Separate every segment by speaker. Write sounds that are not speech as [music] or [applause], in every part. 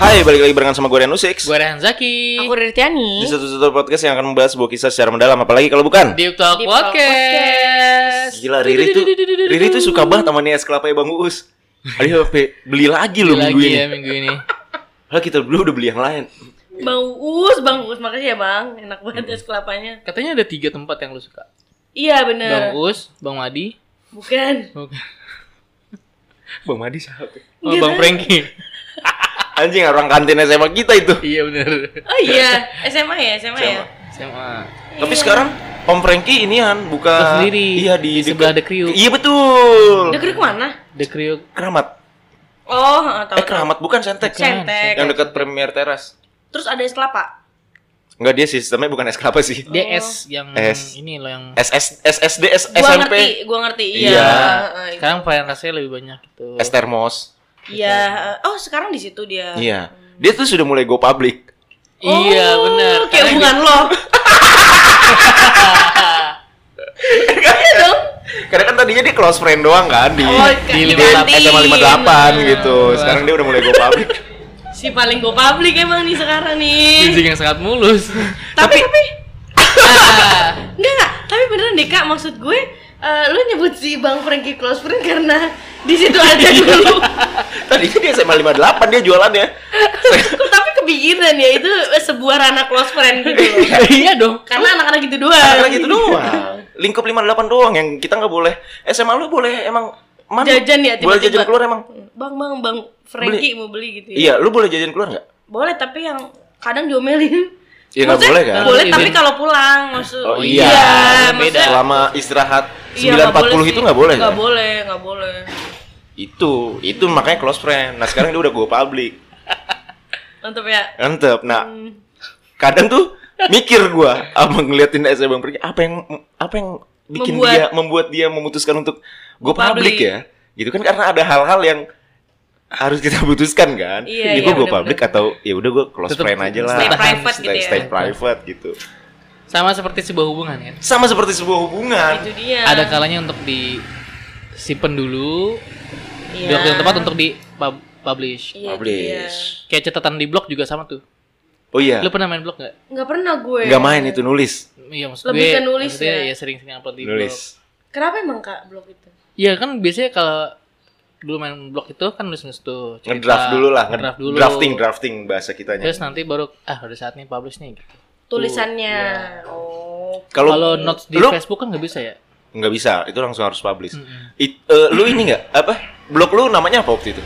Speaker 1: Hai, balik lagi barengan sama gue Renu Six
Speaker 2: Gue Rehan Zaki
Speaker 3: Aku Rirtiani
Speaker 1: Di satu-satu podcast yang akan membahas sebuah kisah secara mendalam Apalagi kalau bukan
Speaker 2: Deep Talk
Speaker 3: Deep Talk
Speaker 2: Podcast
Speaker 1: Gila, Riri tuh Riri tuh suka banget sama nih es kelapa ya Bang Uus Aduh, sampai beli lagi loh minggu
Speaker 2: Lagi ya
Speaker 1: ini
Speaker 2: minggu ini
Speaker 1: Padahal kita dulu udah beli yang lain
Speaker 3: Bang Uus, Bang Uus makasih ya Bang Enak banget es kelapanya
Speaker 2: Katanya ada tiga tempat yang lu suka
Speaker 3: Iya
Speaker 2: Bang
Speaker 3: bener
Speaker 2: Us, Bang Madi
Speaker 3: Bukan
Speaker 2: Oke.
Speaker 1: Bang Madi siapa?
Speaker 2: [laughs] Oh, Bang Franky
Speaker 1: Anjing, orang kantin SMA kita itu
Speaker 2: [laughs] Iya bener
Speaker 3: Oh iya SMA ya SMA, ya
Speaker 2: SMA
Speaker 1: Tapi
Speaker 3: Iya.
Speaker 1: sekarang Om Franky inian
Speaker 2: Buka
Speaker 1: buka
Speaker 2: sendiri.
Speaker 1: Iya di,
Speaker 2: Di sebelah The Kriuk.
Speaker 1: Iya betul.
Speaker 3: Negeri kemana?
Speaker 2: The Kriuk
Speaker 1: Keramat.
Speaker 3: Oh tahu
Speaker 1: Eh Keramat bukan Sentek.
Speaker 2: Bukan.
Speaker 3: Sentek
Speaker 1: Yang dekat Premier Teras.
Speaker 3: Terus ada es kelapa
Speaker 1: Enggak dia sistemnya bukan es kelapa sih.
Speaker 2: DS yang
Speaker 1: Oh. S.
Speaker 2: ini loh yang
Speaker 1: SS SSD S,
Speaker 3: Gua
Speaker 1: SMP
Speaker 3: ngerti, gua ngerti Iya
Speaker 1: Iya.
Speaker 3: eh, eh,
Speaker 2: Sekarang variantasnya lebih banyak gitu
Speaker 1: es termos.
Speaker 3: Iya eh, Oh sekarang di situ dia
Speaker 1: Iya. Dia tuh sudah mulai go public.
Speaker 2: Iya
Speaker 3: Oh,
Speaker 2: bener Karena
Speaker 3: Kayak hubungan lo
Speaker 2: [laughs]
Speaker 3: Iya dong
Speaker 1: Karena kan tadinya dia close friend doang kan di
Speaker 3: Oh,
Speaker 2: di
Speaker 1: di eh,
Speaker 3: kayak kantin.
Speaker 1: SMA 58 gitu.
Speaker 2: Wah.
Speaker 1: Sekarang dia udah mulai go public.
Speaker 3: [laughs] Si paling go public emang nih sekarang
Speaker 2: dia
Speaker 3: nih
Speaker 2: Fisik yang sangat
Speaker 1: [laughs]
Speaker 2: mulus
Speaker 3: tapi tapi
Speaker 2: Ah.
Speaker 3: enggak enggak tapi beneran deh kak maksud gue eh, lu nyebut si bang Frankie close friend karena di situ aja
Speaker 1: Iya.
Speaker 3: dulu [laughs]
Speaker 1: tadinya dia SMA 58 dia jualannya.
Speaker 3: Eh. Kok tapi kepikiran ya itu sebuah ranah close friend gitu loh
Speaker 2: Iya
Speaker 1: [laughs]
Speaker 2: dong
Speaker 3: karena anak-anak gitu doang
Speaker 1: Karena gitu doang. Lingkup 58 doang yang kita nggak boleh. SMA lu boleh emang mana?
Speaker 3: jajan ya
Speaker 1: Boleh jajan
Speaker 3: tiba-tiba
Speaker 1: keluar emang?
Speaker 3: bang bang bang Frankie mau beli gitu ya
Speaker 1: Iya, lu boleh jajan keluar nggak?
Speaker 3: boleh tapi yang kadang diomelin
Speaker 1: Iya, nggak
Speaker 3: Maksudnya,
Speaker 1: boleh kan?
Speaker 3: boleh
Speaker 2: Izin.
Speaker 3: tapi kalau pulang maksud
Speaker 1: Oh,
Speaker 2: iya. Beda.
Speaker 3: maksudnya
Speaker 1: Selama istirahat 9.40
Speaker 3: iya, nggak boleh
Speaker 1: itu
Speaker 3: sih.
Speaker 1: nggak boleh.
Speaker 3: nggak
Speaker 1: kan?
Speaker 3: boleh nggak boleh
Speaker 1: Itu, itu makanya close friend. Nah, sekarang dia udah go public.
Speaker 3: mantap ya
Speaker 1: Mantep. Nah,
Speaker 3: Hmm.
Speaker 1: kadang tuh mikir gua sama ngeliatin saya Bang Pergi, apa yang apa yang bikin
Speaker 3: Membuat-
Speaker 1: dia membuat dia memutuskan untuk go public,
Speaker 3: Public.
Speaker 1: ya? Gitu kan karena ada hal-hal yang harus kita putuskan kan.
Speaker 3: Iya,
Speaker 1: Ini
Speaker 3: iya,
Speaker 1: gua go
Speaker 3: bener-bener.
Speaker 1: public atau ya udah gua close
Speaker 2: Tetep
Speaker 1: friend aja lah.
Speaker 3: stay private
Speaker 1: Stay-
Speaker 3: gitu ya.
Speaker 1: stay private gitu.
Speaker 2: Sama seperti sebuah hubungan kan
Speaker 1: Sama seperti sebuah hubungan.
Speaker 3: itu dia
Speaker 2: Ada kalanya untuk disimpan dulu
Speaker 3: Iya.
Speaker 2: di waktu yang tepat untuk di pub- publish.
Speaker 3: Iya,
Speaker 1: Publish.
Speaker 2: Kayak catatan di blog juga sama tuh.
Speaker 1: Oh iya.
Speaker 2: Lu pernah main blog nggak?
Speaker 3: Nggak pernah gue.
Speaker 1: Enggak main itu nulis.
Speaker 2: Iya maksud
Speaker 3: Lebih
Speaker 2: gue.
Speaker 3: ke nulis
Speaker 2: maksudnya
Speaker 3: ya?
Speaker 2: ya sering-sering upload di blog.
Speaker 1: Nulis.
Speaker 3: Kenapa emang kak blog itu?
Speaker 2: Iya kan biasanya kalau dulu main blog itu kan nulis-nulis tuh. cerita,
Speaker 1: Ngedraft dulu lah, nge-
Speaker 2: Ngedraft dulu.
Speaker 1: drafting drafting bahasa kitanya.
Speaker 2: Terus nanti baru ah udah saatnya publish nih gitu.
Speaker 3: Tulisannya. Oh.
Speaker 1: Kalau
Speaker 2: Kalau notes di
Speaker 1: lu-
Speaker 2: Facebook kan nggak bisa ya.
Speaker 1: nggak bisa, itu langsung harus publish.
Speaker 2: Mm-mm.
Speaker 1: It- eh, lu ini nggak apa? Blog lu namanya apa waktu itu?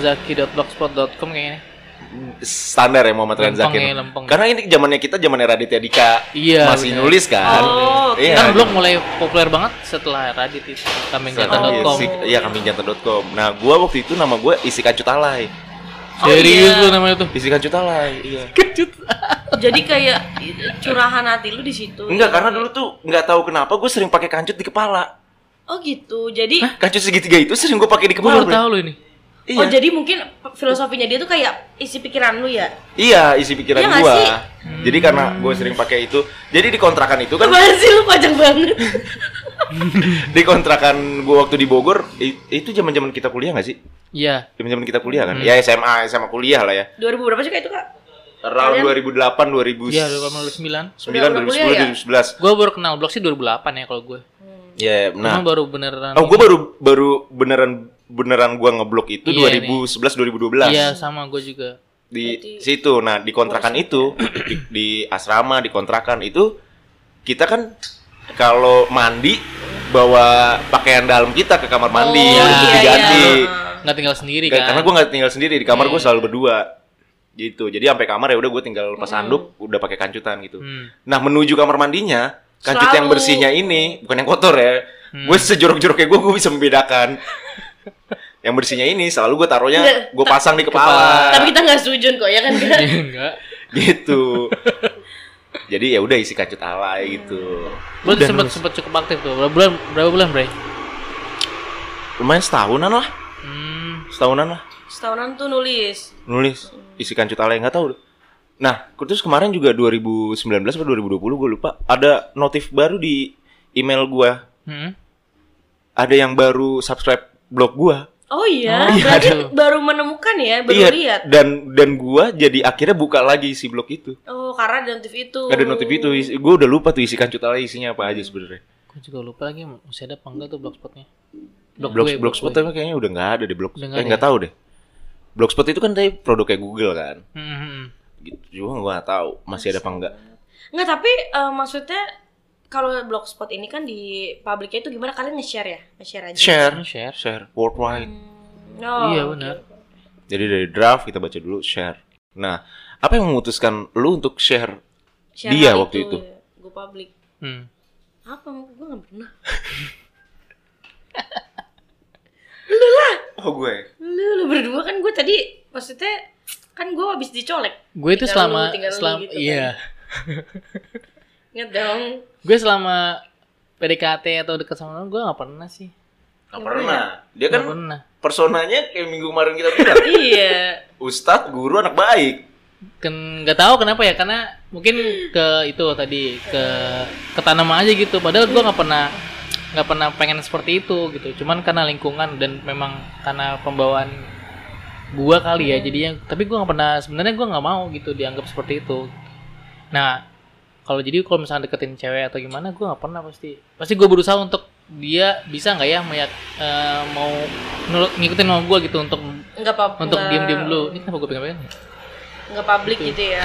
Speaker 2: MuhammadRehanzaki.blogspot.com kayaknya.
Speaker 1: standar ya Muhammad Rian
Speaker 2: Lempeng
Speaker 1: Zakir.
Speaker 2: ya, lempeng.
Speaker 1: Karena ini zamannya kita zamannya Raditya Dika
Speaker 2: Iya,
Speaker 1: masih
Speaker 2: bener.
Speaker 1: nulis kan.
Speaker 3: Oh, oke.
Speaker 1: iya.
Speaker 2: Kan blog mulai populer banget setelah Reddit itu kambingjata.com.
Speaker 1: Isik- Iya kambingjata.com. Nah, gua waktu itu nama gua Isi Kacutalai.
Speaker 3: Oh,
Speaker 2: Serius
Speaker 3: iya.
Speaker 2: lu namanya tuh.
Speaker 1: Isi Kacutalai, iya.
Speaker 2: Kecut.
Speaker 3: Oh. Jadi kayak curahan hati lu di situ.
Speaker 1: Enggak, karena dulu tuh nggak tahu kenapa gue sering pakai kancut di kepala.
Speaker 3: Oh gitu. Jadi
Speaker 1: Kancut segitiga itu sering gue pakai di
Speaker 2: Gue
Speaker 1: kepala.
Speaker 2: baru
Speaker 1: Bre.
Speaker 2: tahu lu ini.
Speaker 1: Iya.
Speaker 3: Oh jadi mungkin filosofinya dia tuh kayak isi pikiran lu ya?
Speaker 1: iya, isi pikiran
Speaker 3: Iya nggak
Speaker 1: gua.
Speaker 3: sih?
Speaker 1: Jadi karena gue sering pakai itu, jadi di kontrakan itu kan
Speaker 3: Apaan sih lu panjang [laughs] banget?
Speaker 1: [laughs] di kontrakan gue waktu di Bogor i- itu zaman-zaman kita kuliah nggak sih?
Speaker 2: Iya.
Speaker 1: Zaman-zaman kita kuliah kan? Ya SMA, SMA kuliah lah ya.
Speaker 3: 2000 berapa sih kak itu kak?
Speaker 1: Around
Speaker 3: Kalian- ya?
Speaker 1: 2008, 2009,
Speaker 2: Iya 2009.
Speaker 1: 2010, 2011.
Speaker 2: Gue baru kenal blog sih 2008 ya kalau gue.
Speaker 1: Ya,
Speaker 2: Nah.
Speaker 1: nah.
Speaker 2: baru beneran.
Speaker 1: Oh, gue baru baru beneran beneran gua ngeblok itu
Speaker 2: Iya,
Speaker 1: 2011 2012
Speaker 2: Iya sama gue juga.
Speaker 3: Oh,
Speaker 1: di situ. Nah, di kontrakan itu
Speaker 3: ya?
Speaker 1: di, di asrama di kontrakan itu kita kan kalau mandi bawa pakaian dalam kita ke kamar mandi
Speaker 3: Oh,
Speaker 1: untuk
Speaker 3: iya,
Speaker 1: diganti.
Speaker 3: iya.
Speaker 2: Nggak tinggal sendiri
Speaker 1: Kayak-
Speaker 2: kan.
Speaker 1: Karena gua nggak tinggal sendiri di kamar gua selalu berdua gitu. Jadi sampai kamar ya udah gua tinggal pas anduk udah pakai kancutan gitu.
Speaker 2: Hmm. [laughs]
Speaker 1: Nah menuju kamar mandinya kancut
Speaker 3: Selalu.
Speaker 1: yang bersihnya ini bukan yang kotor ya. Gue sejorok-joroknya gue gue bisa membedakan. yang bersihnya ini selalu gue taruhnya
Speaker 3: Nggak,
Speaker 1: gue pasang di kepala.
Speaker 3: Ah.
Speaker 1: [laughs]
Speaker 3: Tapi kita nggak sujud kok ya kan
Speaker 2: [laughs]
Speaker 3: kak?
Speaker 2: Iya, Enggak.
Speaker 1: Gitu. Jadi ya udah isi kancut alay gitu.
Speaker 2: Gue sempet sempet cukup aktif tuh. Berapa bulan? Berapa bulan Bre?
Speaker 1: Lumayan setahunan lah,
Speaker 2: Hmm.
Speaker 1: setahunan lah
Speaker 3: Setahunan tuh nulis.
Speaker 1: nulis isi kancut alay nggak tahu. Nah, terus kemarin juga 2019 atau 2020 gue lupa ada notif baru di email gue.
Speaker 2: Hmm.
Speaker 1: Ada yang baru subscribe blog gue.
Speaker 3: Oh
Speaker 2: Oh,
Speaker 3: iya,
Speaker 2: iya,
Speaker 3: berarti
Speaker 2: aduh.
Speaker 3: baru menemukan ya, baru
Speaker 1: iya
Speaker 3: lihat.
Speaker 1: dan dan gua jadi akhirnya buka lagi si blog itu
Speaker 3: Oh, karena ada notif itu.
Speaker 1: Gak ada notif
Speaker 3: Oh.
Speaker 1: itu is- gua udah lupa tuh isi kancut lagi isinya apa aja sebenarnya
Speaker 2: Gue juga lupa lagi masih ada apa enggak tuh blogspotnya.
Speaker 1: blog
Speaker 2: gue,
Speaker 1: blogspot
Speaker 2: gue.
Speaker 1: tapi kayaknya udah nggak ada deh blog
Speaker 2: ya, Udah
Speaker 1: eh
Speaker 2: nggak ada ya?
Speaker 1: nggak tahu deh blogspot itu kan tadi produknya Google kan
Speaker 2: Hmm, hmm, hmm.
Speaker 1: gitu cuma gua nggak tahu masih ada apa enggak
Speaker 3: Nggak, tapi eh, maksudnya kalau blogspot ini kan di publiknya itu gimana kalian nge-share ya? Nge-share aja.
Speaker 1: share
Speaker 2: Kan Share.
Speaker 1: share worldwide
Speaker 3: Hmm, oh,
Speaker 2: Iya,
Speaker 3: oke.
Speaker 2: benar.
Speaker 1: Jadi dari draft kita baca dulu share. Nah, apa yang memutuskan lu untuk share?
Speaker 3: Share
Speaker 1: Dia
Speaker 3: hal
Speaker 1: waktu itu.
Speaker 3: ya. Gue publik.
Speaker 2: Hmm.
Speaker 3: Apa? Gue nggak pernah.
Speaker 1: Oh gue.
Speaker 3: Lu, lu berdua kan gue tadi maksudnya kan gue habis dicolek.
Speaker 2: Gue itu
Speaker 3: Tinggal
Speaker 2: selama
Speaker 3: lu, tinggal lu
Speaker 2: selama
Speaker 3: gitu kan.
Speaker 2: iya.
Speaker 3: Ingat dong.
Speaker 2: Gue selama PDKT atau dekat sama orang gue nggak pernah sih.
Speaker 1: Gak pernah. Dia kan
Speaker 2: Nggak pernah.
Speaker 1: personanya kayak minggu kemarin kita bilang, [laughs]
Speaker 3: iya.
Speaker 1: ustadz, guru, anak baik.
Speaker 2: Ken nggak tahu kenapa ya karena mungkin ke itu tadi ke ketanam aja gitu. Padahal gue nggak pernah nggak pernah pengen seperti itu gitu. Cuman karena lingkungan dan memang karena pembawaan gua kali ya jadinya tapi gua nggak pernah sebenarnya gua nggak mau gitu dianggap seperti itu nah kalau jadi kalau misalnya deketin cewek atau gimana gua nggak pernah pasti pasti gua berusaha untuk dia bisa nggak ya meyak, eh, mau nurut ngikutin mau gua gitu untuk
Speaker 3: Nggak apa-apa.
Speaker 2: untuk diem diem dulu ini kenapa gua ya? pengen
Speaker 3: Nggak publik gitu
Speaker 2: [laughs]
Speaker 3: ya.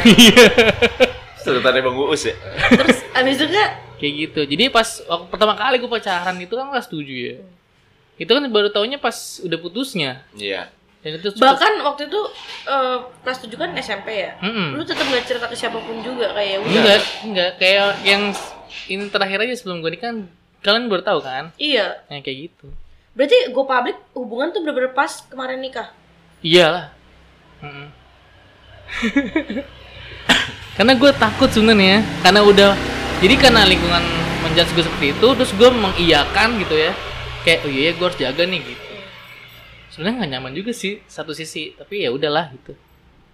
Speaker 1: Sedotannya Bang Uus ya.
Speaker 3: Terus abis itu nggak
Speaker 2: kayak gitu jadi pas waktu pertama kali gua pacaran itu kan kelas tujuh ya itu kan baru taunya pas udah putusnya
Speaker 1: Iya.
Speaker 2: dan itu cukup-
Speaker 3: bahkan waktu itu eh, kelas 7 kan SMP ya.
Speaker 2: Mm-mm. Iya.
Speaker 3: Lu tetap nggak cerita ke siapapun juga kayak udah.
Speaker 2: Enggak, enggak. Kayak yang s- ini terakhir aja sebelum gue nikah, kalian baru tahu kan?
Speaker 3: Iya.
Speaker 2: Yang kayak gitu.
Speaker 3: Berarti gue publik hubungan tuh bener-bener pas kemarin nikah.
Speaker 2: Iyalah. Mm-mm. [laughs] karena gue takut sebenarnya, karena udah jadi karena lingkungan menjudge gue seperti itu, terus gue mengiyakan gitu ya. Kayak oh iya gue harus jaga nih gitu. Sebenarnya nggak nyaman juga sih satu sisi, tapi ya udahlah gitu.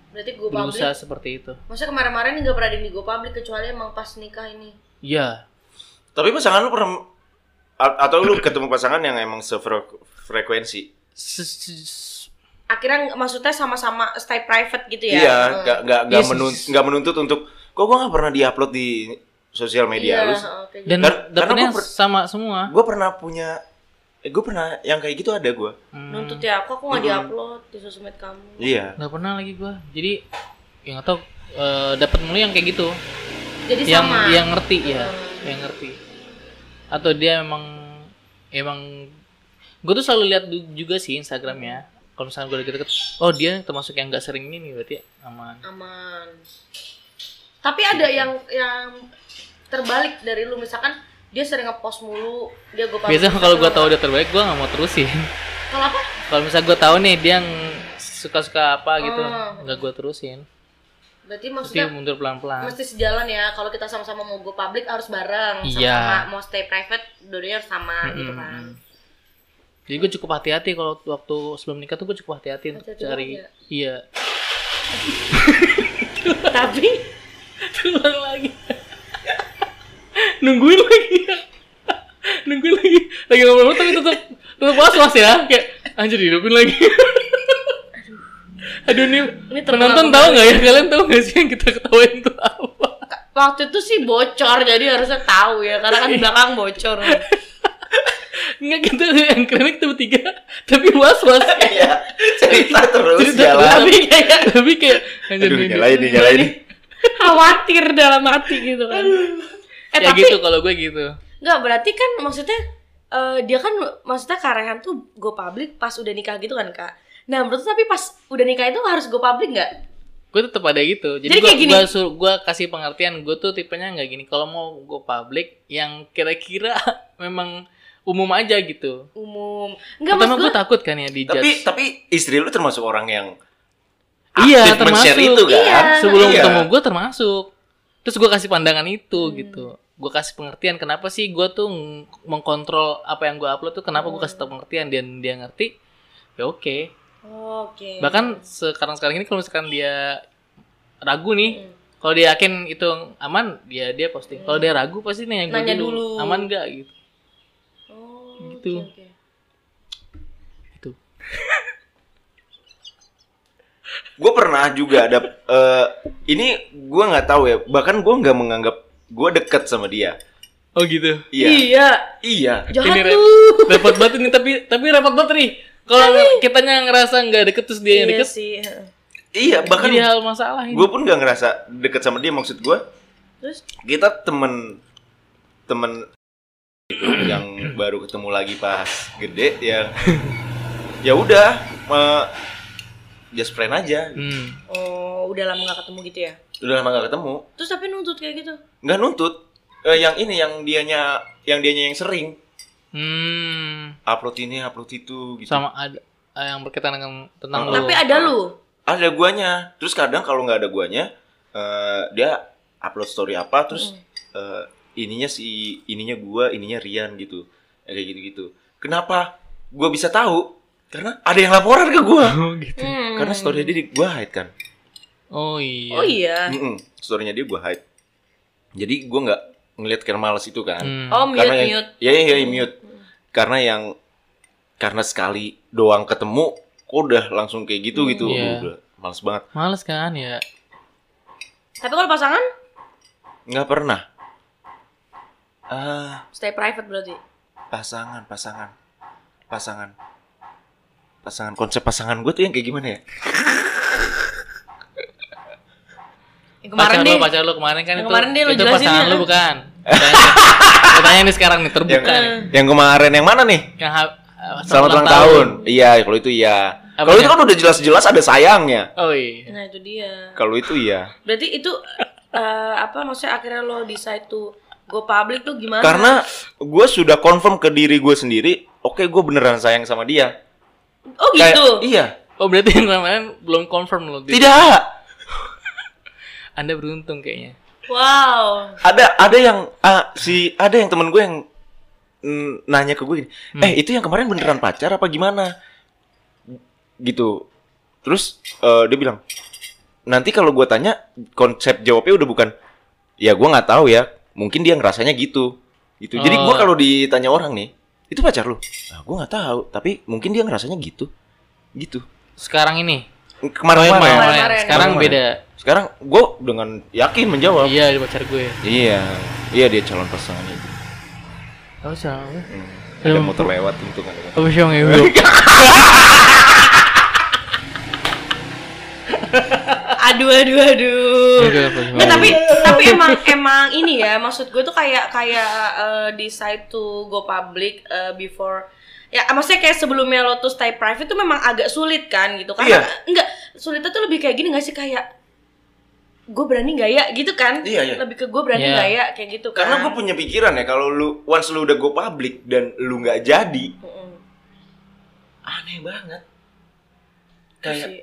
Speaker 3: Berarti gue publik.
Speaker 2: Berusaha seperti itu.
Speaker 3: Maksudnya kemarin-kemarin nggak pernah ada yang di gue publik kecuali emang pas nikah ini.
Speaker 2: Iya.
Speaker 1: Tapi pasangan lu pernah a- atau lu ketemu pasangan yang emang sefrekuensi?
Speaker 2: Se- se- se-
Speaker 3: Akhirnya nggak- maksudnya sama-sama stay private gitu ya.
Speaker 1: Iya,
Speaker 3: Hmm.
Speaker 1: nggak nggak nggak
Speaker 2: Yes,
Speaker 1: menun-
Speaker 2: yes.
Speaker 1: nggak menuntut untuk kok gua nggak pernah diupload di sosial media
Speaker 3: Iya,
Speaker 1: lu.
Speaker 3: heeh, kayak gitu.
Speaker 2: Dan
Speaker 1: Kar- karena
Speaker 2: dapetnya
Speaker 1: gua per-
Speaker 2: sama semua.
Speaker 1: Gua pernah punya eh, gua pernah yang kayak gitu ada gua.
Speaker 2: Hmm.
Speaker 3: Nuntut ya, kok aku nggak diupload di sosmed kamu?
Speaker 1: Iya.
Speaker 2: nggak pernah lagi gua jadi ya yang atau dapat eh, mulu yang kayak gitu
Speaker 3: Jadi
Speaker 2: yang
Speaker 3: sama. Hmm.
Speaker 2: yang ngerti ya yang ngerti atau dia emang emang gue tuh selalu lihat du- juga sih Instagramnya kalau misalnya gue deket-deket oh dia termasuk yang nggak sering ini nih, berarti aman
Speaker 3: aman. Tapi ada
Speaker 1: Iya.
Speaker 3: yang yang terbalik dari lu misalkan dia sering ngepost mulu, dia gue publik.
Speaker 2: biasanya kalau gua tahu dia terbaik gua nggak mau terusin [laughs]
Speaker 3: Kalau apa?
Speaker 2: kalau misalnya gua tahu nih dia yang suka-suka apa gitu
Speaker 3: Oh.
Speaker 2: nggak gua terusin
Speaker 3: Berarti
Speaker 2: pasti
Speaker 3: maksudnya
Speaker 2: mundur pelan-pelan
Speaker 3: mesti sejalan ya kalau kita sama-sama mau go public harus bareng
Speaker 2: Iya.
Speaker 3: sama-sama mau stay private dua-duanya harus sama gitu kan
Speaker 2: jadi gue cukup hati-hati kalau waktu sebelum nikah tuh gue cukup hati-hati untuk
Speaker 3: Hati-hati
Speaker 2: cari
Speaker 3: banget ya?
Speaker 2: iya
Speaker 3: tapi
Speaker 2: Ulang lagi. Nungguin lagi. Nungguin lagi. Lagi ngobrol tapi tetap tetap was-was ya. Kayak anjir hidupin lagi. Aduh ini,
Speaker 3: Ini terkenal
Speaker 2: penonton tahu nggak ya kalian tahu nggak sih yang kita ketawain itu apa?
Speaker 3: waktu itu sih bocor jadi harusnya tahu ya karena
Speaker 2: Iya.
Speaker 3: kan belakang bocor
Speaker 2: Nggak kita yang keren kita bertiga tapi was-was.
Speaker 1: Iya. [laughs] Cerita terus
Speaker 2: Cerita
Speaker 1: jalan.
Speaker 2: tapi kayak tapi kayak anjir
Speaker 1: Aduh,
Speaker 2: ini-
Speaker 1: nyalain nih, nyalain nih.
Speaker 3: khawatir dalam hati gitu kan eh
Speaker 2: Ya
Speaker 3: tapi
Speaker 2: gitu kalau gue gitu.
Speaker 3: nggak berarti kan maksudnya eh, dia kan maksudnya karehan tuh go public pas udah nikah gitu kan kak nah menurut lu tapi pas udah nikah itu harus go public nggak
Speaker 2: gue tetap ada gitu jadi,
Speaker 3: Jadi
Speaker 2: gue
Speaker 3: kayak gini.
Speaker 2: gua suruh gue kasih pengertian gue tuh tipenya nggak gini kalau mau gue publik yang kira-kira [laughs] memang umum aja gitu
Speaker 3: umum nggak
Speaker 2: pertama
Speaker 3: maksud
Speaker 2: gue
Speaker 3: gue
Speaker 2: takut kan ya di
Speaker 1: Tapi
Speaker 2: judge
Speaker 1: tapi istri lu termasuk orang yang
Speaker 2: iya
Speaker 1: aktif men-share
Speaker 2: termasuk
Speaker 1: itu kan?
Speaker 3: Iya.
Speaker 2: sebelum
Speaker 1: Iya.
Speaker 2: ketemu gue termasuk terus gue kasih pandangan itu
Speaker 3: Hmm.
Speaker 2: gitu gue kasih pengertian kenapa sih gue tuh ng- mengkontrol apa yang gue upload tuh kenapa gue kasih
Speaker 3: Hmm.
Speaker 2: tau pengertian dan dia ngerti ya oke
Speaker 3: Oh, oke
Speaker 2: bahkan sekarang sekarang ini kalau misalkan dia ragu
Speaker 3: Hmm.
Speaker 2: nih kalau dia yakin itu aman dia dia posting kalau dia ragu pasti nanya gue
Speaker 3: Nanya
Speaker 2: dulu,
Speaker 3: dulu.
Speaker 2: aman nggak gitu
Speaker 3: Oh,
Speaker 2: Gitu.
Speaker 3: oke, oke.
Speaker 2: itu
Speaker 1: gue pernah juga ada eh, ini gue nggak tahu ya bahkan gue nggak menganggap gue deket sama dia
Speaker 2: Oh gitu.
Speaker 1: iya
Speaker 3: Iya.
Speaker 1: iya
Speaker 3: Jahat
Speaker 2: Ini Ren.
Speaker 3: tuh.
Speaker 2: Repot banget ini tapi tapi repot banget nih. Kalau kitanya ngerasa nggak deket terus dia yang
Speaker 3: Iya
Speaker 2: deket,
Speaker 3: sih.
Speaker 1: iya bahkan
Speaker 2: jadi hal masalah ini.
Speaker 1: gue pun nggak ngerasa deket sama dia maksud gue
Speaker 3: Terus
Speaker 1: kita temen temen yang baru ketemu lagi pas gede [laughs] ya ya udah me- just friend aja
Speaker 2: Hmm.
Speaker 3: oh udah lama gak ketemu gitu ya.
Speaker 1: udah lama gak ketemu
Speaker 3: Terus tapi nuntut kayak gitu.
Speaker 1: nggak nuntut Eh, yang ini yang dianya yang dianya yang sering
Speaker 2: Hmm.
Speaker 1: upload ini upload itu gitu
Speaker 2: Sama ada eh, yang berkaitan
Speaker 1: Oh.
Speaker 2: dengan tentang lo.
Speaker 3: Tapi ada lu.
Speaker 1: ada guanya terus kadang kalau nggak ada guanya eh, dia upload story apa terus eh, ininya si ininya gua ininya Rian gitu Ya, kayak gitu gitu kenapa gua bisa tahu karena ada yang laporan ke gua
Speaker 2: Oh gitu.
Speaker 3: Hmm.
Speaker 1: karena story dia di- Hmm. gua hide kan
Speaker 2: Oh iya.
Speaker 3: Oh iya.
Speaker 1: Mm-mm. storynya dia gua hide jadi gua nggak ngelihat karena males itu kan
Speaker 2: Hmm.
Speaker 3: Oh mute
Speaker 1: karena yang-
Speaker 3: mute.
Speaker 1: ya ya ya, mute karena yang karena sekali doang ketemu kok udah langsung kayak gitu gitu
Speaker 2: Iya.
Speaker 1: Aduh, udah males banget
Speaker 2: Males kan ya.
Speaker 3: Tapi kalau pasangan
Speaker 1: nggak pernah ah
Speaker 3: stay private berarti.
Speaker 1: pasangan pasangan pasangan pasangan konsep pasangan gue tuh yang kayak gimana ya
Speaker 3: Yang kemarin
Speaker 2: pacar
Speaker 3: deh.
Speaker 2: lo, pacar lo kemarin kan
Speaker 3: Yang
Speaker 2: itu.
Speaker 3: kemarin deh lo
Speaker 2: itu
Speaker 3: jelasin
Speaker 2: pasangan
Speaker 3: ya.
Speaker 2: lo bukan.
Speaker 1: [laughs]
Speaker 2: Pertanyaan tanya nih sekarang nih terbuka.
Speaker 1: yang,
Speaker 2: nih.
Speaker 1: yang kemarin yang mana nih
Speaker 2: Yang ha- eh,
Speaker 1: Iya. selamat ulang tahun iya kalau itu iya
Speaker 2: Apanya?
Speaker 1: kalau itu kan udah jelas-jelas ada sayangnya
Speaker 2: Oh iya.
Speaker 3: Nah itu dia.
Speaker 1: kalau itu iya
Speaker 3: Berarti itu eh, apa maksudnya akhirnya lo decide to go public tuh gimana?
Speaker 1: karena gue sudah confirm ke diri gue sendiri oke gue beneran sayang sama dia
Speaker 3: oh gitu.
Speaker 1: Kayak- iya
Speaker 2: Oh berarti yang kemarin belum confirm lo.
Speaker 1: tidak
Speaker 2: Anda beruntung kayaknya.
Speaker 3: Wow.
Speaker 1: ada ada yang ah, si ada yang temen gue yang mm, nanya ke gue gini, eh itu yang kemarin beneran pacar apa gimana gitu terus eh, dia bilang nanti kalau gue tanya konsep jawabnya udah bukan ya gue nggak tahu ya mungkin dia ngerasanya gitu gitu jadi gue
Speaker 2: Oh.
Speaker 1: kalau ditanya orang nih itu pacar lu nah, gue nggak tahu tapi mungkin dia ngerasanya gitu gitu
Speaker 2: Sekarang ini.
Speaker 1: kemarin
Speaker 2: Kemarin,
Speaker 1: kemarin
Speaker 2: kemarin.
Speaker 3: Kemarin.
Speaker 2: Sekarang
Speaker 1: Kemarin.
Speaker 2: beda.
Speaker 1: sekarang gue dengan yakin menjawab
Speaker 2: Iya ada pacar gue.
Speaker 1: iya iya dia calon pasangan itu
Speaker 2: Oh sama gue.
Speaker 1: Hmm. Ada
Speaker 2: Aduh.
Speaker 1: motor lewat untung ada.
Speaker 2: Oh siang
Speaker 1: Iya.
Speaker 2: ya bro.
Speaker 3: Aduh aduh aduh.
Speaker 2: Aduh,
Speaker 1: Iya.
Speaker 2: apa
Speaker 1: Eh,
Speaker 2: sih,
Speaker 3: Nggak,
Speaker 2: Bang?
Speaker 3: tapi tapi emang emang ini ya maksud gue tuh kayak kayak eh, decide to go public eh, before ya maksudnya kayak sebelumnya lo tuh stay private tuh memang agak sulit kan gitu kan
Speaker 1: Iya.
Speaker 3: enggak sulitnya tuh lebih kayak gini gak sih kayak gue berani gak ya gitu kan
Speaker 1: Iya, iya.
Speaker 3: lebih ke gue berani
Speaker 2: Iya.
Speaker 3: nggak ya kayak gitu kan
Speaker 1: Karena gue punya pikiran ya kalau lu once lu udah go public dan lu nggak jadi,
Speaker 3: Mm-mm.
Speaker 1: aneh banget.
Speaker 3: Terus
Speaker 1: Kayak
Speaker 3: sih.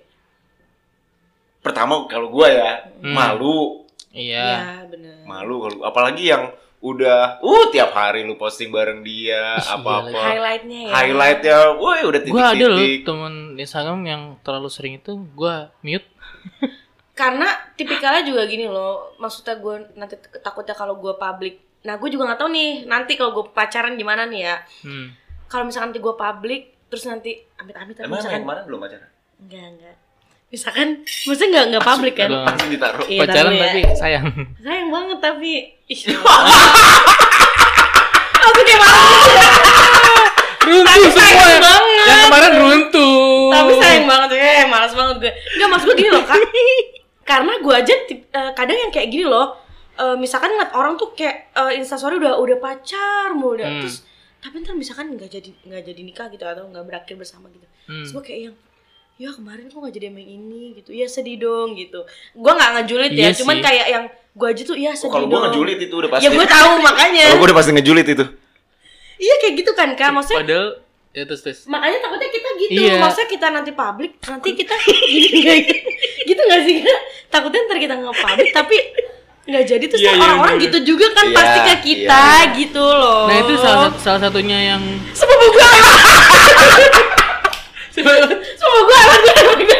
Speaker 1: pertama kalau gue ya
Speaker 2: Hmm.
Speaker 1: malu,
Speaker 2: Iya.
Speaker 3: Iya, bener.
Speaker 1: malu kalau apalagi yang udah uh tiap hari lu posting bareng dia
Speaker 2: Ih,
Speaker 1: apa-apa.
Speaker 3: Highlightnya ya.
Speaker 1: Highlightnya, woi udah
Speaker 2: Gue ada loh
Speaker 1: titik-titik.
Speaker 2: temen di Instagram yang terlalu sering itu gue mute.
Speaker 3: Karena tipikalnya juga gini loh, maksudnya gue nanti t- takutnya kalau gue public. Nah, gue juga nggak tahu nih nanti kalau gue pacaran gimana nih ya.
Speaker 2: Hmm.
Speaker 3: Kalau misalkan nanti gue public, terus nanti amit-amit tapi
Speaker 1: Emang emang
Speaker 3: misalkan
Speaker 1: yang kemarin belum pacaran?
Speaker 2: Iya,
Speaker 3: enggak enggak. Misalkan maksudnya enggak enggak public kan?
Speaker 2: Udah.
Speaker 1: Langsung ditaruh.
Speaker 3: Iya,
Speaker 2: Pacaran
Speaker 3: taruh ya.
Speaker 2: tapi sayang.
Speaker 3: Sayang banget tapi Ih, Aku kayak
Speaker 2: runtuh
Speaker 3: malu.
Speaker 2: semua.
Speaker 3: sayang banget.
Speaker 2: Yang kemarin runtuh.
Speaker 3: tapi sayang banget eh malas banget gue nggak maksud gue gini loh
Speaker 2: [laughs]
Speaker 3: kak karena gue aja tip- eh, kadang yang kayak gini loh eh, misalkan ngeliat orang tuh kayak eh, instastory udah udah pacar mulu udah
Speaker 2: Hmm.
Speaker 3: terus tapi ntar misalkan nggak jadi nggak jadi nikah gitu atau nggak berakhir bersama gitu
Speaker 2: Hmm.
Speaker 3: terus gue kayak yang ya kemarin kok nggak jadi sama yang ini gitu ya sedih dong gitu gue nggak ngejulit ya
Speaker 2: Iya
Speaker 3: cuman
Speaker 2: sih.
Speaker 3: kayak yang gue aja tuh ya
Speaker 1: Oh,
Speaker 3: sedih
Speaker 1: kalau gue
Speaker 3: dong
Speaker 1: ngejulit itu udah pasti.
Speaker 3: ya gue tahu makanya
Speaker 1: Kalau gue udah pasti ngejulit itu.
Speaker 3: iya kayak gitu kan kak maksudnya
Speaker 2: Padahal ya terus terus.
Speaker 3: makanya takutnya kita gitu
Speaker 2: Iya.
Speaker 3: maksudnya kita nanti publik nanti kita gini [laughs] nggak gitu nggak sih Kak? takutnya ntar kita nggak publik tapi nggak jadi terus
Speaker 2: Iya,
Speaker 3: ntar
Speaker 2: iya,
Speaker 3: orang-orang
Speaker 2: bener.
Speaker 3: gitu juga kan
Speaker 1: Iya,
Speaker 3: pasti ke kita
Speaker 1: iya,
Speaker 3: gitu loh
Speaker 2: Nah itu salah, sat- salah satunya yang
Speaker 3: sepupu
Speaker 2: [laughs]
Speaker 3: gue sepupu gue emang gue emang beda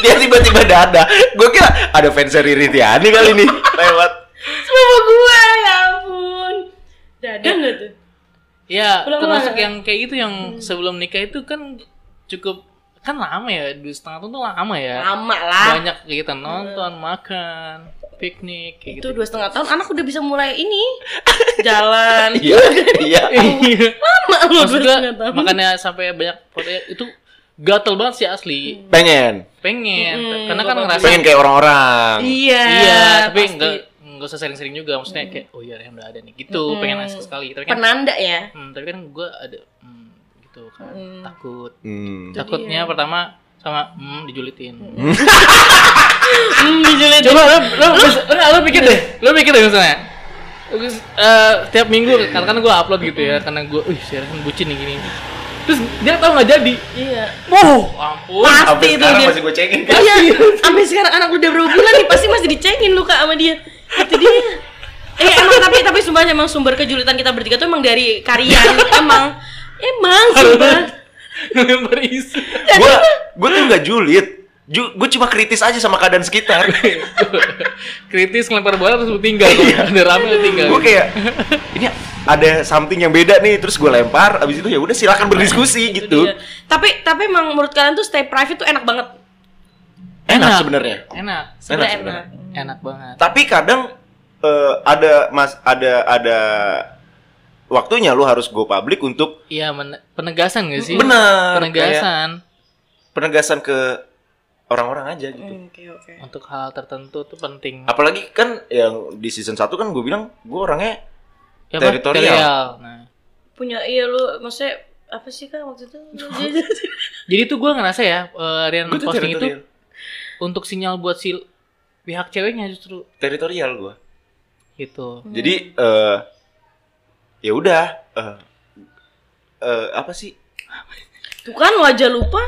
Speaker 1: Dia tiba-tiba dada. Gue kira ada fans Riri Tiani kali
Speaker 2: [laughs]
Speaker 1: ini lewat.
Speaker 3: sepupu gue ya ampun dada nggak tuh
Speaker 2: ya
Speaker 3: Ulang-ulang
Speaker 2: termasuk
Speaker 3: ya? Hmm.
Speaker 2: yang kayak gitu yang sebelum nikah itu kan cukup kan lama ya dua setengah tahun tuh lama ya
Speaker 3: lama lah
Speaker 2: banyak kita nonton makan piknik kayak
Speaker 3: itu [laughs]
Speaker 2: gitu
Speaker 3: dua setengah tahun anak udah bisa mulai
Speaker 2: [laughs]
Speaker 3: ini jalan
Speaker 1: Iya, iya.
Speaker 2: Iya.
Speaker 3: lama loh
Speaker 2: Maksud
Speaker 3: dua
Speaker 2: gua,
Speaker 3: setengah tahun
Speaker 2: makanya sampai banyak foto itu gatel banget sih asli
Speaker 3: Hmm.
Speaker 1: Pengen.
Speaker 2: pengen
Speaker 3: Mm,
Speaker 2: karena kan
Speaker 3: gua
Speaker 2: ngerasa
Speaker 1: Pengen kayak orang-orang.
Speaker 3: iya
Speaker 2: iya tapi
Speaker 3: pasti. Hmm.
Speaker 2: enggak enggak usah sering-sering juga maksudnya kayak oh iya yang udah ada nih gitu
Speaker 3: Mm.
Speaker 2: pengen langsung sekali tapi kan
Speaker 3: penanda ya
Speaker 2: hmm, tapi kan gue ada hmm, gitu kan
Speaker 3: Mm.
Speaker 2: takut
Speaker 1: Hmm.
Speaker 2: takutnya
Speaker 3: dia.
Speaker 2: pertama sama hmm, dijulitin
Speaker 3: hmm, dijulitin.
Speaker 2: coba lo lo lo, lo pikir deh lo pikir deh misalnya Eh, setiap minggu karena kan gue upload gitu ya karena gue wih siaran bucin nih gini terus dia tau nggak jadi
Speaker 3: iya
Speaker 2: wow [laughs] ampun
Speaker 3: pasti
Speaker 1: Sampai
Speaker 3: itu
Speaker 1: sekarang
Speaker 3: dia
Speaker 1: masih gue cekin. kan?
Speaker 3: [laughs] iya sampai sekarang anak udah berapa bulan nih pasti masih dicengin luka sama dia itu dia [laughs] eh emang tapi tapi sumpah emang sumber kejulitan kita bertiga tuh emang dari karyan emang emang sumpah
Speaker 2: Member isu
Speaker 3: Iya,
Speaker 1: Gue gue tuh nggak julid. Ju, gue cuma kritis aja sama keadaan sekitar.
Speaker 2: [laughs] kritis ngelempar bola terus lu tinggal ada rame lu tinggal
Speaker 1: gue kayak ini ada something yang beda nih terus gue lempar abis itu ya udah silakan berdiskusi gitu
Speaker 3: Iya. tapi tapi emang menurut kalian tuh stay private tuh enak banget
Speaker 1: enak sebenarnya
Speaker 2: enak
Speaker 1: Enak
Speaker 3: Sebenernya
Speaker 1: sebenarnya.
Speaker 2: enak banget
Speaker 1: tapi kadang eh, ada mas ada ada waktunya lu harus go public untuk
Speaker 2: iya men- penegasan gak sih
Speaker 1: Bener,
Speaker 2: penegasan
Speaker 1: penegasan ke orang-orang aja gitu
Speaker 3: Hmm, oke oke
Speaker 2: untuk hal tertentu tuh penting
Speaker 1: apalagi kan yang di season 1 kan gue bilang gue orangnya
Speaker 2: Ya, apa?
Speaker 1: Teritorial.
Speaker 2: nah
Speaker 3: punya iya lu maksudnya apa sih kak
Speaker 1: [laughs]
Speaker 3: waktu itu
Speaker 2: jadi tuh gue ngerasa ya eh, Rian
Speaker 1: gue tuh
Speaker 2: posting itu
Speaker 1: teritorial
Speaker 2: untuk sinyal buat si pihak ceweknya justru
Speaker 1: teritorial gue
Speaker 2: Hmm. gitu
Speaker 1: jadi eh ya udah eh eh, apa sih
Speaker 3: tuh kan lo aja lupa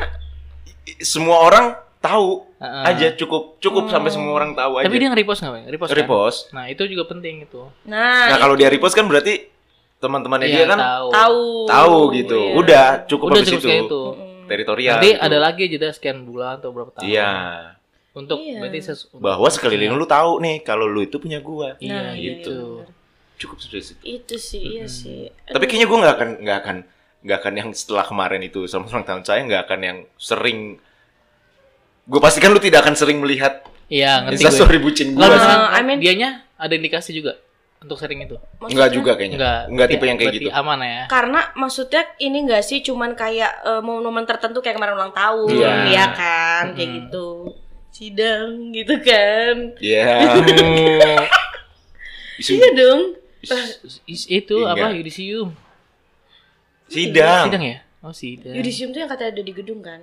Speaker 1: semua orang tahu
Speaker 2: Heeh.
Speaker 1: aja cukup cukup sampai semua orang tahu aja
Speaker 2: Ah. Hmm. tapi dia nge-repost nggak Bang? repost, kan?
Speaker 1: repost
Speaker 2: nah itu juga penting itu
Speaker 1: nah
Speaker 3: nah,
Speaker 1: kalau dia repost kan berarti teman-temannya
Speaker 2: Iya,
Speaker 1: dia kan
Speaker 2: tahu
Speaker 3: tahu
Speaker 1: tahu gitu
Speaker 3: Iya.
Speaker 1: udah cukup
Speaker 2: udah
Speaker 1: habis
Speaker 2: cukup
Speaker 1: itu
Speaker 2: kayak itu
Speaker 1: teritorial
Speaker 2: nanti
Speaker 1: gitu.
Speaker 2: ada lagi jeda sekian bulan atau berapa tahun
Speaker 1: iya
Speaker 2: untuk
Speaker 3: Iya.
Speaker 2: berarti ses- untuk-
Speaker 1: bahwa sekeliling lu tahu nih kalau lu itu punya gua
Speaker 2: iya
Speaker 3: Nah, iya,
Speaker 2: gitu
Speaker 3: iya,
Speaker 1: cukup spesifik
Speaker 3: itu sih iya
Speaker 2: Mm-mm.
Speaker 3: sih
Speaker 1: tapi kayaknya gua nggak akan nggak akan nggak akan yang setelah kemarin itu sama ulang tahun saya nggak akan yang sering gue pastikan lu tidak akan sering melihat
Speaker 2: iya ngerti gue
Speaker 1: instastory bucin
Speaker 2: Lalu
Speaker 1: gua
Speaker 3: Lama-
Speaker 1: sih.
Speaker 3: Nah, I mean-
Speaker 2: dianya ada indikasi juga untuk sering itu.
Speaker 1: nggak
Speaker 3: Maksudnya-
Speaker 1: juga kayaknya Iya. nggak, tipe
Speaker 2: berarti-
Speaker 1: yang kayak
Speaker 2: berarti
Speaker 1: gitu
Speaker 2: aman ya.
Speaker 3: karena maksudnya ini enggak sih cuman kayak eh, momen-momen tertentu kayak kemarin ulang tahun
Speaker 1: Iya.
Speaker 3: ya kan kayak
Speaker 2: Mm.
Speaker 3: gitu sidang gitu kan [laughs]
Speaker 1: Iya
Speaker 3: iya dong
Speaker 2: Is- is- itu
Speaker 1: Iya.
Speaker 2: apa yudisium?
Speaker 1: sidang
Speaker 2: Sidang ya?
Speaker 1: Iya.
Speaker 2: Oh, sidang.
Speaker 3: yudisium tuh yang katanya ada di gedung kan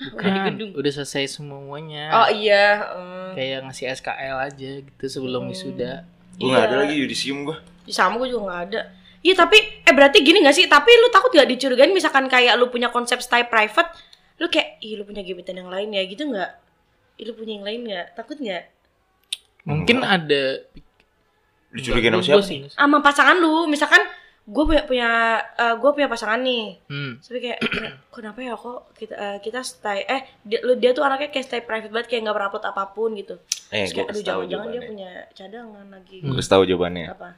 Speaker 3: Hah,
Speaker 2: Bukan,
Speaker 3: udah di gedung
Speaker 2: udah selesai semuanya.
Speaker 3: oh iya eh.
Speaker 2: Kayak ngasih SKL aja gitu sebelum
Speaker 3: Hmm.
Speaker 2: wisuda.
Speaker 1: gue nggak ada
Speaker 3: Iya.
Speaker 1: lagi yudisium gue
Speaker 3: Ya, sama gue juga nggak ada Iya tapi eh berarti gini gak sih tapi lu takut gak dicurigain misalkan kayak lu punya konsep style private lu kayak ih lu punya gebetan yang lain ya gitu nggak Ih, lu punya yang lain nggak takut nggak
Speaker 2: Mungkin ada
Speaker 1: dicurigain sama
Speaker 2: Enggak,
Speaker 1: siapa
Speaker 2: gua sih.
Speaker 3: sama pasangan lu misalkan gue punya punya gue punya pasangan nih
Speaker 2: Hmm.
Speaker 3: tapi kayak [clears throat] kenapa ya kok kita eh, kita stay eh dia, lu- dia tuh anaknya kayak stay private banget kayak nggak berupload apapun gitu
Speaker 1: eh
Speaker 3: Terus
Speaker 1: gue
Speaker 3: kayak aduh
Speaker 1: kasih tahu Hmm.
Speaker 3: jangan-jangan dia
Speaker 1: jawabannya
Speaker 3: punya cadangan lagi
Speaker 1: gue kasih tahu jawabannya
Speaker 3: apa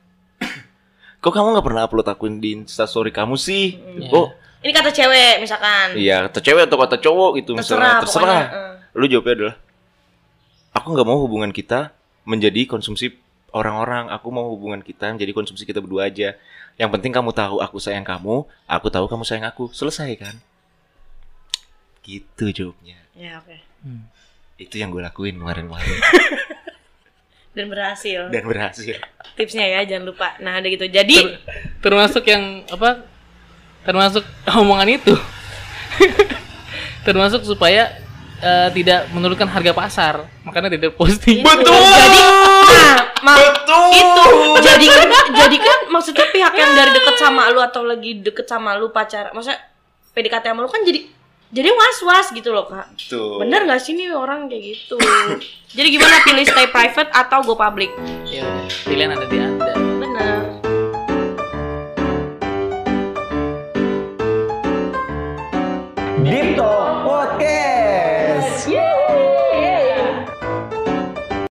Speaker 1: kok kamu nggak pernah upload akuin di instastory kamu sih
Speaker 2: Iya.
Speaker 1: oh
Speaker 3: ini kata cewek misalkan
Speaker 1: iya kata cewek atau kata cowok gitu
Speaker 3: terserah
Speaker 1: misalnya terserah
Speaker 3: pokoknya, eh.
Speaker 1: lu jawabnya adalah aku nggak mau hubungan kita menjadi konsumsi orang-orang aku mau hubungan kita menjadi konsumsi kita berdua aja yang penting kamu tahu aku sayang kamu aku tahu kamu sayang aku selesai kan gitu jawabnya
Speaker 3: ya oke
Speaker 2: Hmm.
Speaker 1: itu yang gue lakuin kemarin-kemarin
Speaker 3: dan berhasil
Speaker 1: dan berhasil
Speaker 3: tipsnya ya jangan lupa nah udah gitu jadi
Speaker 2: Termasuk yang apa? Termasuk [laughs] omongan itu. termasuk supaya eh, tidak menurunkan harga pasar. Makanya tidak posting.
Speaker 3: Iya. jadi nah, ma-
Speaker 1: betul
Speaker 3: itu
Speaker 1: Oh.
Speaker 3: jadi kan jadi kan maksudnya pihak yang dari deket sama lu atau lagi deket sama lu pacar maksudnya PDKT sama lu kan jadi jadi was was gitu loh kak
Speaker 1: Betul.
Speaker 3: bener nggak sih nih orang kayak gitu jadi gimana pilih stay private atau go public
Speaker 2: Ya udah, pilihan ada di Anda.
Speaker 3: bener
Speaker 4: Deep Talk